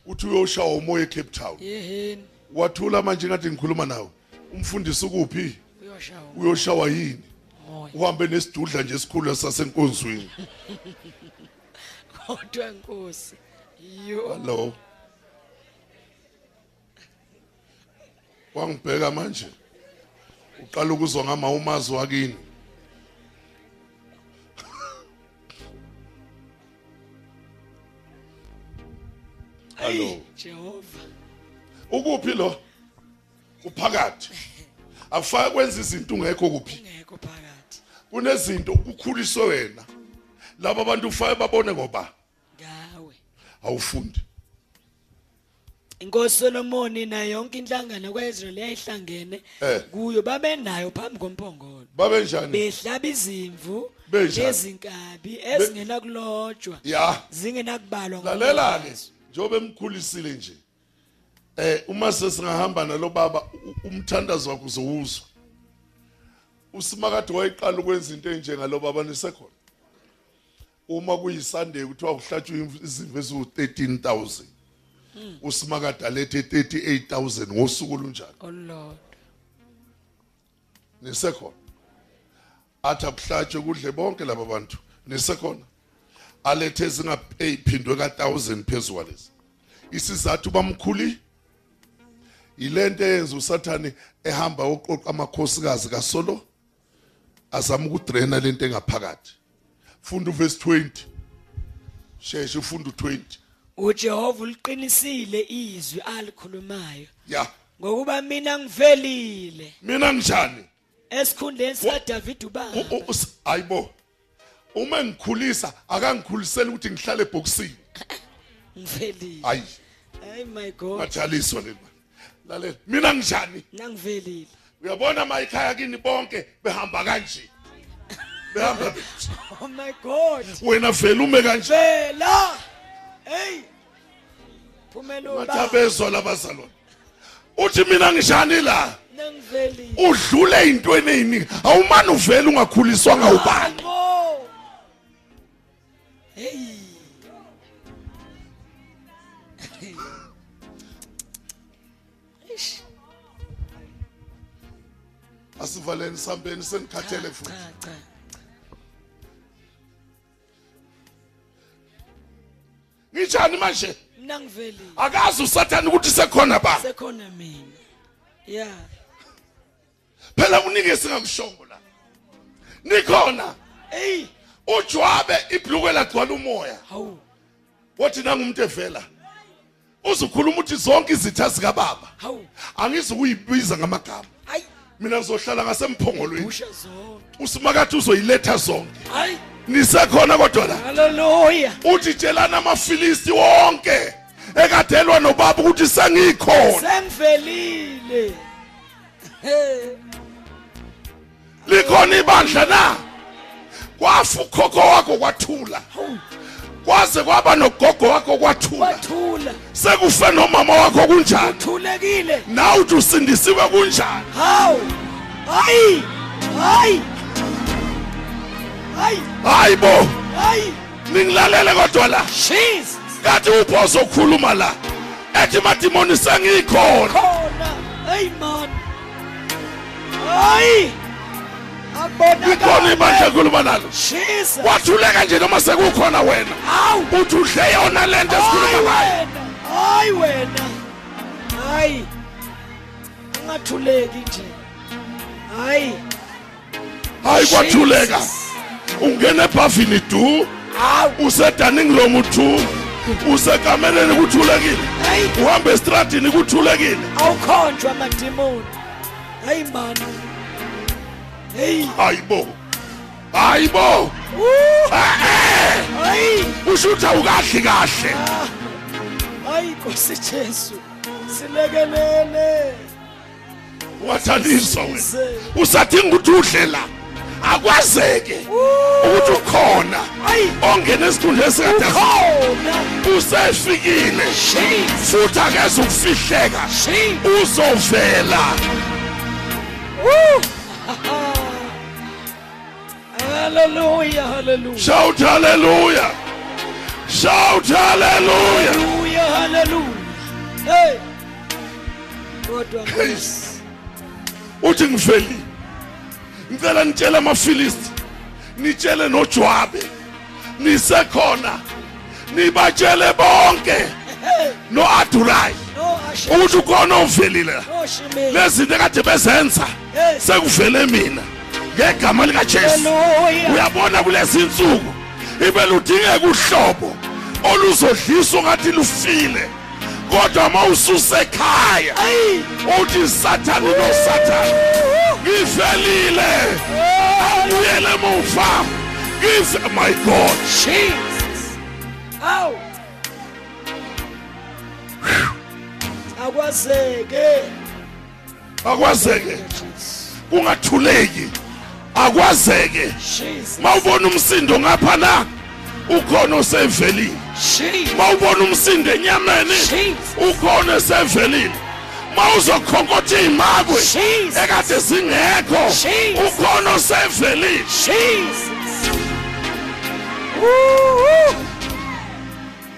uthi uyoshawa umoya eCape Town yeheni wathula manje ngathi ngikhuluma nawe umfundisi ukuphi uyoshawa uyoshawa yini umoya uhambe nesidudla nje esikhulu sasenkonzweni kodwa nkosi yo hello wangibheka manje uqala ukuzwa ngama umazi wakini hello Ayi, jehova ukuphi lo uphakathi afaka kwenza izinto ungekho kuphi ngekho phakathi kunezinto ukukhuliswe wena laba bantu ufaye babone ngoba ngawe awufundi inkosi solomoni nayo yonke inhlangano kwaIsrael yayihlangene Eh. Hmm. kuyo babenayo phambi komphongolo babe njani behlaba izimvu Benjani? nezinkabi ezingenakulotshwa ya zingenakubalwa lalela ke njobe emkhulisile nje eh uma sesingahamba nalobaba u- umthandazo wakho uzowuzwa usimakade wayeqala ukwenza into enjengalobaba nisekhona uma kuyisunday kuthiwa kuhlatshwe imv- izimvu eziwu-13000 usimakade alethe 38000 ngosuku olunjalo olulodwa nisekhona athi akuhlatshwe kudle bonke laba bantu nisekhona alethe ezingaphindwe ka-1000 phezu kwalezi isizathu bamkhuli yile nto eyenza usathane ehamba oqoqa amakhosikazi kasolo azama ukudrena le nto engaphakathi funda uvesi 20 sheshe ufunda u-20 uJehova uliqinisile izwi alikhulumayo ya ngokuba mina ngivelile mina njani esikhundleni sikaDavid ubaba U- u- us- ayibo uma ngikhulisa akangikhuliseli ukuthi ngihlale ebhokisini ngivelile hayi hey my god majaliswa leli bani lalela mina ngijani nangivelile uyabona mayikhaya kini bonke behamba kanje behamba benje. oh my god wena vele ume kanje vela hey phumela ubaba bathabezwa labazalwane uthi mina ngijani la nangivelile udlule intweni eyiningi awumane uvele ungakhuliswanga ubani Hayibo! hey Eish. asivaleni sambeni senikhathele futhi cha cha ngijani manje mina ngivelile akazi usathane ukuthi sekhona ba sekhona mina ya phela kuningi singakushongo la nikhona hey ujwabe ibhlukwe lagcwala umoya hawu wathi nangumuntu evela uzukhuluma uthi zonke izitha zikababa hawu angizukuyibiza ngamagama hayi mina ngizohlala ngasemphongolweni busha zonke usimakathi uzoyiletha zonke hayi nisekhona kodwa la haleluya uthi tshelana amafilisti wonke ekadelwa nobaba ukuthi sengikhona sengivelile hey likhona ibandla na kwafa ukhokho wakho kwathula hawu kwaze kwaba nogogo wakho kwathula wathula sekufe nomama wakho kunjani thulekile nawe uthi usindisiwe kunjani hawu hayi hayi hayi hayi bo hayi ningilalele kodwa la jesus kathi uphosa ukukhuluma la ethi madimoni sengikhona khona hey man hayi ikhona ibandla akubonakala ekhuluma nalo jesus wathuleka nje noma sekukhona wena hawu uthi udle yona le nto esikhuluma hayi ngayo wena hayi wena hayi angathuleki nje hayi hayi kwathuleka Jesus. ungena ebhavini du hawu usedaning room du usekameleni kuthulekile hayi uhambe esitradini kuthulekile awukhonjwa amadimoni hayi mani heyi hayi bo hayi bo Eh, eh, hayi usho ukuthi awukahli kahle hayi nkosi jesu silekelele wathandiswa wena usadinga ukuthi udle la akwazeke ukuthi ukhona hayi ongena esikhundleni esikade khona usefikile jesus futhi akeze ukufihleka jesus uzovela haleluya haleluya shout haleluya shout hallelujah Haleluya, haleluya. Hey. Kodwa Yes. uthi ngiveli ngicela nitshele amafilisti nitshele nojwabe nisekhona nibatshele bonke no-adulayi no ashe ukuthi ukhona ovelile la no shimele. lezinto ekade bezenza Yes. sekuvele mina ngegama likajesu Haleluya. uyabona kulezi insuku ibe ludingeka uhlobo oluzodlisa ungathi lufile kodwa uma ususekhaya Hey. uthi sathane nosathane ngivelile abuyele emuva ngive my god Jesus. Aw. Akwazeke. akwazeke Jesus. kungathuleki akwazeke Jesus. mawubona umsindo ngapha la ukhona osevelile Jesus. mawubona umsindo enyameni Jesus. ukhona esevelile mawuzokhokotha iy'makwe Jesus. ekade zingekho Jesus. ukhona osevelile Jesus. Woo-hoo.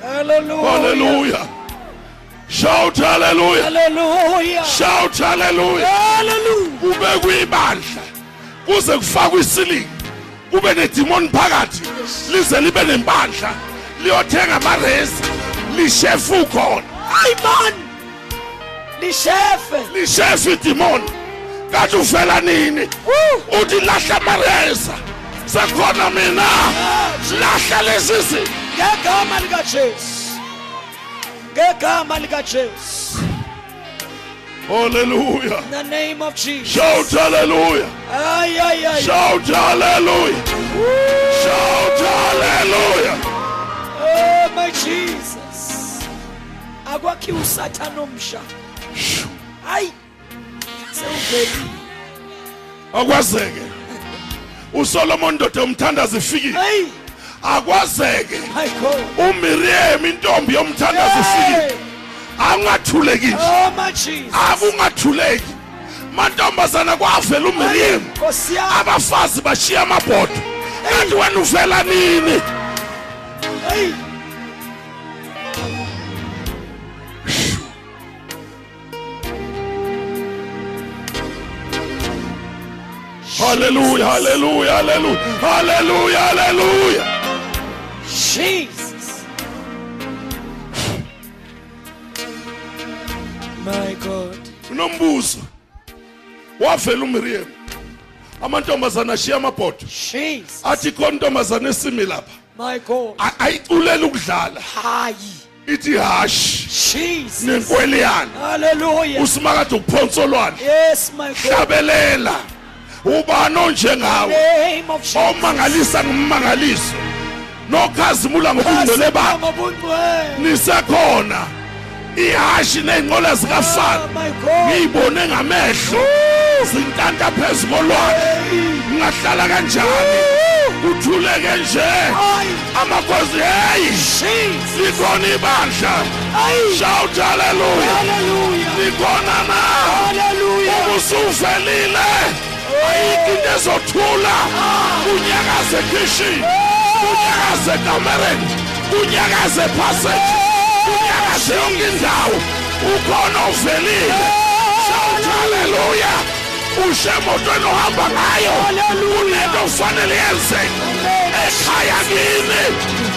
Hallelujah. halleluya shout halleluya Hallelujah. shout halleluya Hallelujah. kube kuyibandla kuze kufakwe isilingi kube nedimoni phakathi lize libe nempandla liyothenga amaresi lishefu ukhona Ay man. Lishefe. lishefu idimoni kanti uvela nini Woo. uthi lahla amaresa sekhona mina lahla lezi zinto Ngegama lika Jesu. Ngegama lika Jesu. halleluya In the name of Jesus. shout halleluya Ay ay ay. shout halleluya shout halleluya Oh my Jesus. Akwakhi usathana omsha. Ay. Sewubhekile. akwazeke usolomon ndoda yomthandazi ifikile Ay. akwazeke My God. umiriyem intombi yomthandazi ifikile Hey. angathuleki nje Oh my Jesus. akungathuleki mantombazana kwavela umiriyem Nkosi yami. abafazi bashiya amabhodo kanti wena uvela nini Ay. haleluya haleluya haleluya haleluya haleluya Jesus. My God. unombuzo wavela umiriyem amantombazana ashiya amabhodo Jesus. athi khona intombazana esimi lapha My God. A- ayiculela ukudlala Hayi. ithi hashi Jesus. nenkweliyana Hallelujah. usimakade ukuphonsolwana Yes, my God. hlabelela ubani onjengawe Name of Oh, Jesus. omangalisa ngummangaliso nokhazimula ngobungcwele bakho Noma bungcwele. nisekhona ihashi ney'nqola Oh zikafana my God. ngiyibone ngamehlo zintanta phezu kolwandle Hey. ngingahlala kanjani uthuleke nje Ay. amakhosi heyi Jesus. likhona ibandla Ay. shout haleluya Hallelujah. likhona na Hallelujah. ubusuvelile ayikho into ezothula kunyakaze ekhishini kunyakaze ekamereni kunyakaze ephaseti kunyakaze yonke indawo ukhona ovelile shout haleluya ushe emotweni ohamba ngayo kunento ofanele yenzeke ekhaya kini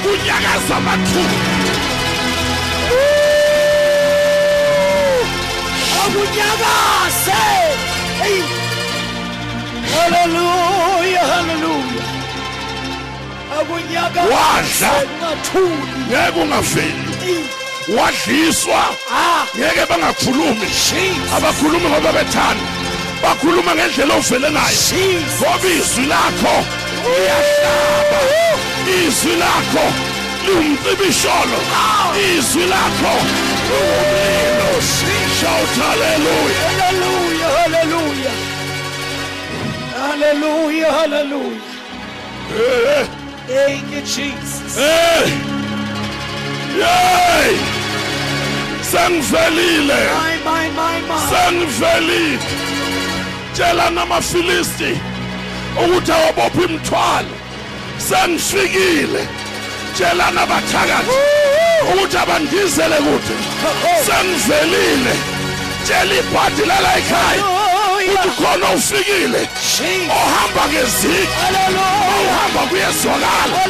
kunyakaza amathuba Akunyakaze. Hey. Hallelujah. Hallelujah. Akunyakaze. Wadla. Ungathuli. ngeke ungaveli Hey. wadliswa Ah. ngeke bangakhulumi Jesus. abakhulumi ngoba bethanda bakhuluma ngendlela ovele ngayo Jesus. ngoba izwi lakho liyahlaba izwi lakho liwumcibisholo izwi lakho liwumlilo shout haleluya Hallelujah, hallelujah. Hallelujah, hallelujah. Eh, eh, Thank you, Jesus. eh. yey sengivelile My, my, my, my. sengivelile tshela namafilisti ukuthi awabophe imithwalo sengifikile tshela nabathakathi ukuthi abandizele kude sengivelile tshela ibhadi lala ekhaya ukuthi khona ufikile ohamba ngeziki ohamba kuyezwakala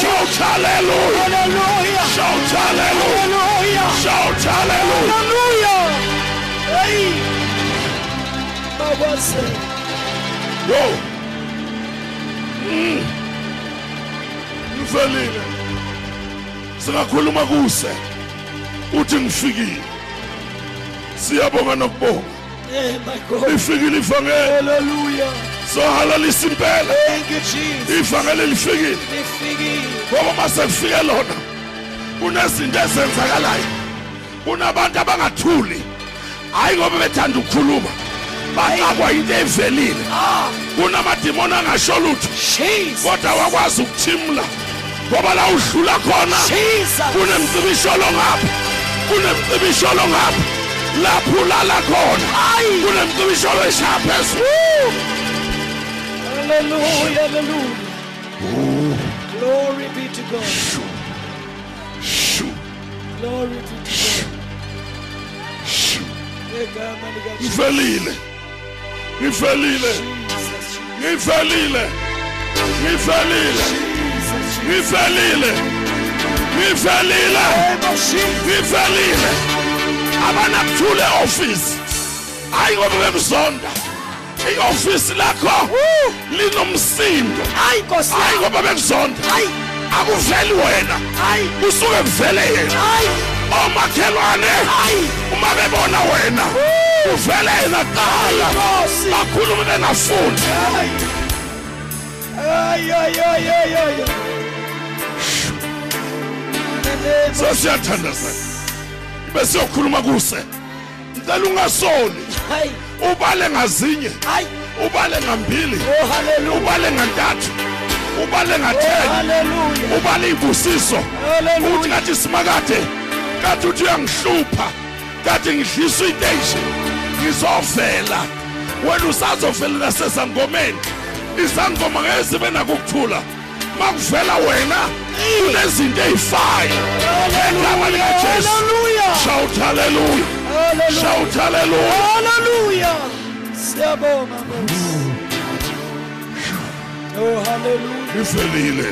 shout hallelujah shout hallelujah shout hallelujah yo Mm. ngivelile singakhuluma kuse uthi ngifikile siyabonga nokubonga Hey, my God. lifikile ivangeli Hallelujah. sohalalisa impela Thank you, Jesus. ivangeli lifikile Lifikile. ngoba mase kufike lona kunezinto ezenzakalayo kunabantu abangathuli hayi ngoba bethanda ukukhuluma baxakwa into evelile Ah, kunamadimoni angasho lutho Jesus. kodwa wakwazi ukuthimla ngoba la udlula khona Jesus. kunemcibisholo ngapha kunemcibisholo ngapha lapho ulala khona kunemcibisholo eshaya phezulu Hallelujah. Hallelujah. Glory be to God. Shoo. Shoo. Glory be to God. Shoo. Egama likaJesu. ngivelile ngivelile Jesus. ngivelile ngivelile Jesus. ngivelile ngivelile ngivelile abanakuthule office hayi ngoba bemzonda iofisi lakho linomsindo Hayi Nkosi. hayi ngoba bemzonda Hayi. akuveli wena Hayi. kusuke kuvele yena Hayi. omakhelwane uma bebona wena uvele yena kuqala Nkosi. bakhulume bengafuni Hayi. Ay ay ay ay ay. Yebo. sesiyathandazana ibe siyokhuluma kuse ngicela ungasoli Hayi. ubale ngazinye Hayi. ubale ngambili Oh hallelujah. ubale ngantathu ubale Oh nga-10 hallelujah. ubale ivusiso uthi Hallelujah. ngathi simakade kathi uthi uyangihlupha kathi ngidlisa iteshi ngizovela wena usazovela nasezangomeni izangoma ngeke zibe nakukuthula makuvela wena kunezinto ey'fayo egama likajesu Hallelujah. shout haleluya Hallelujah. shout haleluya Hallelujah. Siyabonga Nkosi. Oh hallelujah. ngivelile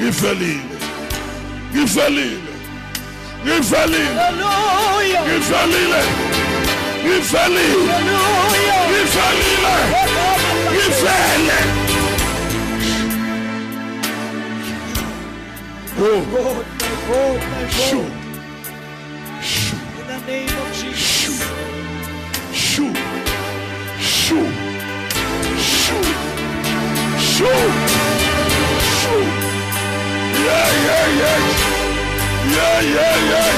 ngivelile ngivelile ngivelile Hallelujah. ngivelile ngivelile Hallelujah. ngivelile Egama ngivele Oh, God, my God, my shoo, God. shoo, In the name of Jesus. shoo, shoo, shoo, shoo, shoo. Yeah, yeah, yeah. Yeah, yeah, yeah.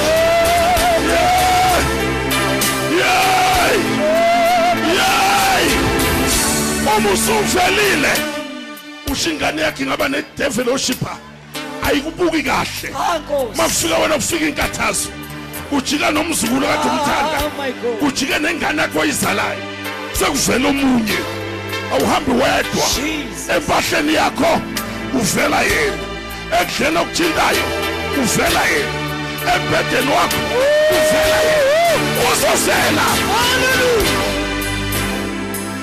Yeah. Yeah. Yeah. Uma usuvelile usho ingane yakhe ingaba nedevil oshipha ayikubuki kahle Ah, Nkosi. mafika wena kufika inkathazo ujika nomzukulu kade umthanda Ah, my God. ujike nengane yakho oyizalayo sekuvela omunye awuhambi wedwa Jesus. empahleni yakho uvela yena ekudleni okuthintayo uvela yena embhedeni wakho uvela yena uzovela Hallelujah.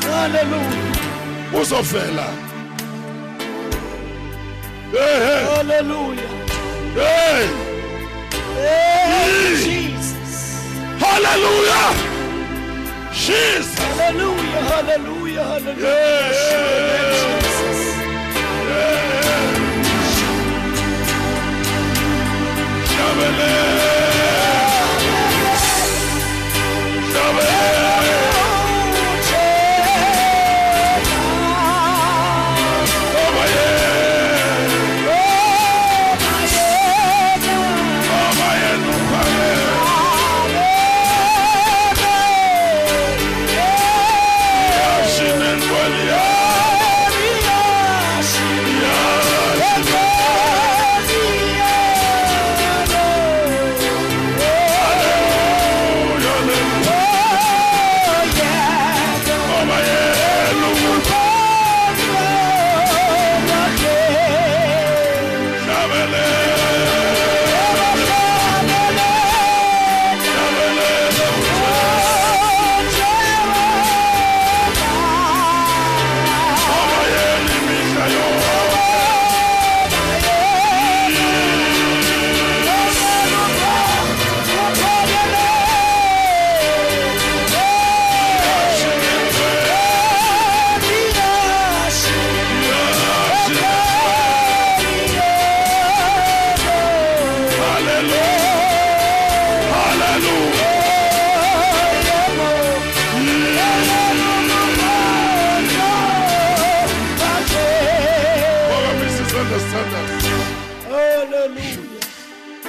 Hallelujah. uzovela ehe Hallelujah. hey Hey, Mm. Jesus. haleluya jesus Hallelujah. Hallelujah. Yeah, Hallelujah. yeah, Jesus. yeah. Shabele. Shabele. Omaye. Omaye nukhale. Yashinen waliya. Yashinen. Yeah.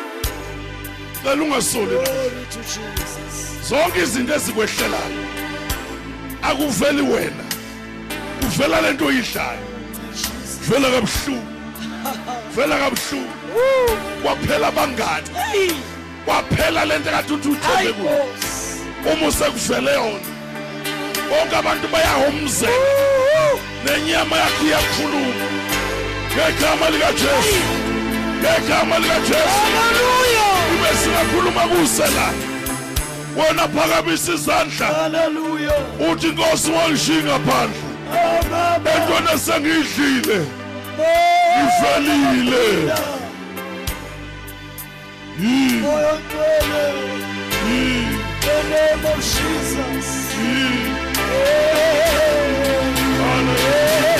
sicela ungasoli la Glory to Jesus. zonke izinto ezikwehlelayo akuveli wena kuvela lento oyidlayo Jesus. vela kabuhlungu vela kabuhlungu Woo. kwaphela abangani Hey. kwaphela lento ekade uthi uthembe Hayi kuyo Nkosi. uma usekuvele yona bonke abantu bayahomzela nenyama yakho iyakhuluma ngegama likajesu ngegama likajesu Hallelujah. ibe singakhuluma kuse la wena phakamisa izandla Hallelujah. uthi inkosi wangishiyi ngaphandle Amen. entweni esengiyidlile ivelile Yi, Moyo ngcwele. yi, The name of Jesus. yi. Hey.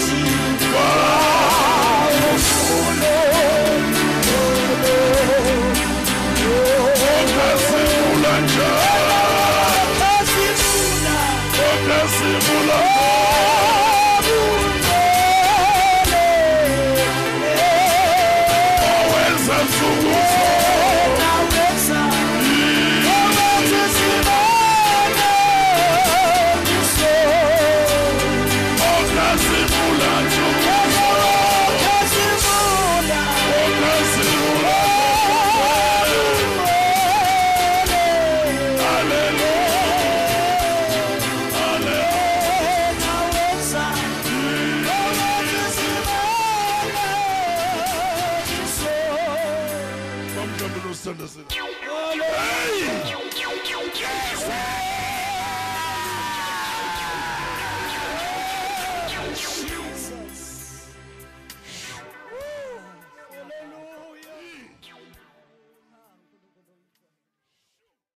Phakathi kwesifuna. Vamos, Camilo Sanderson.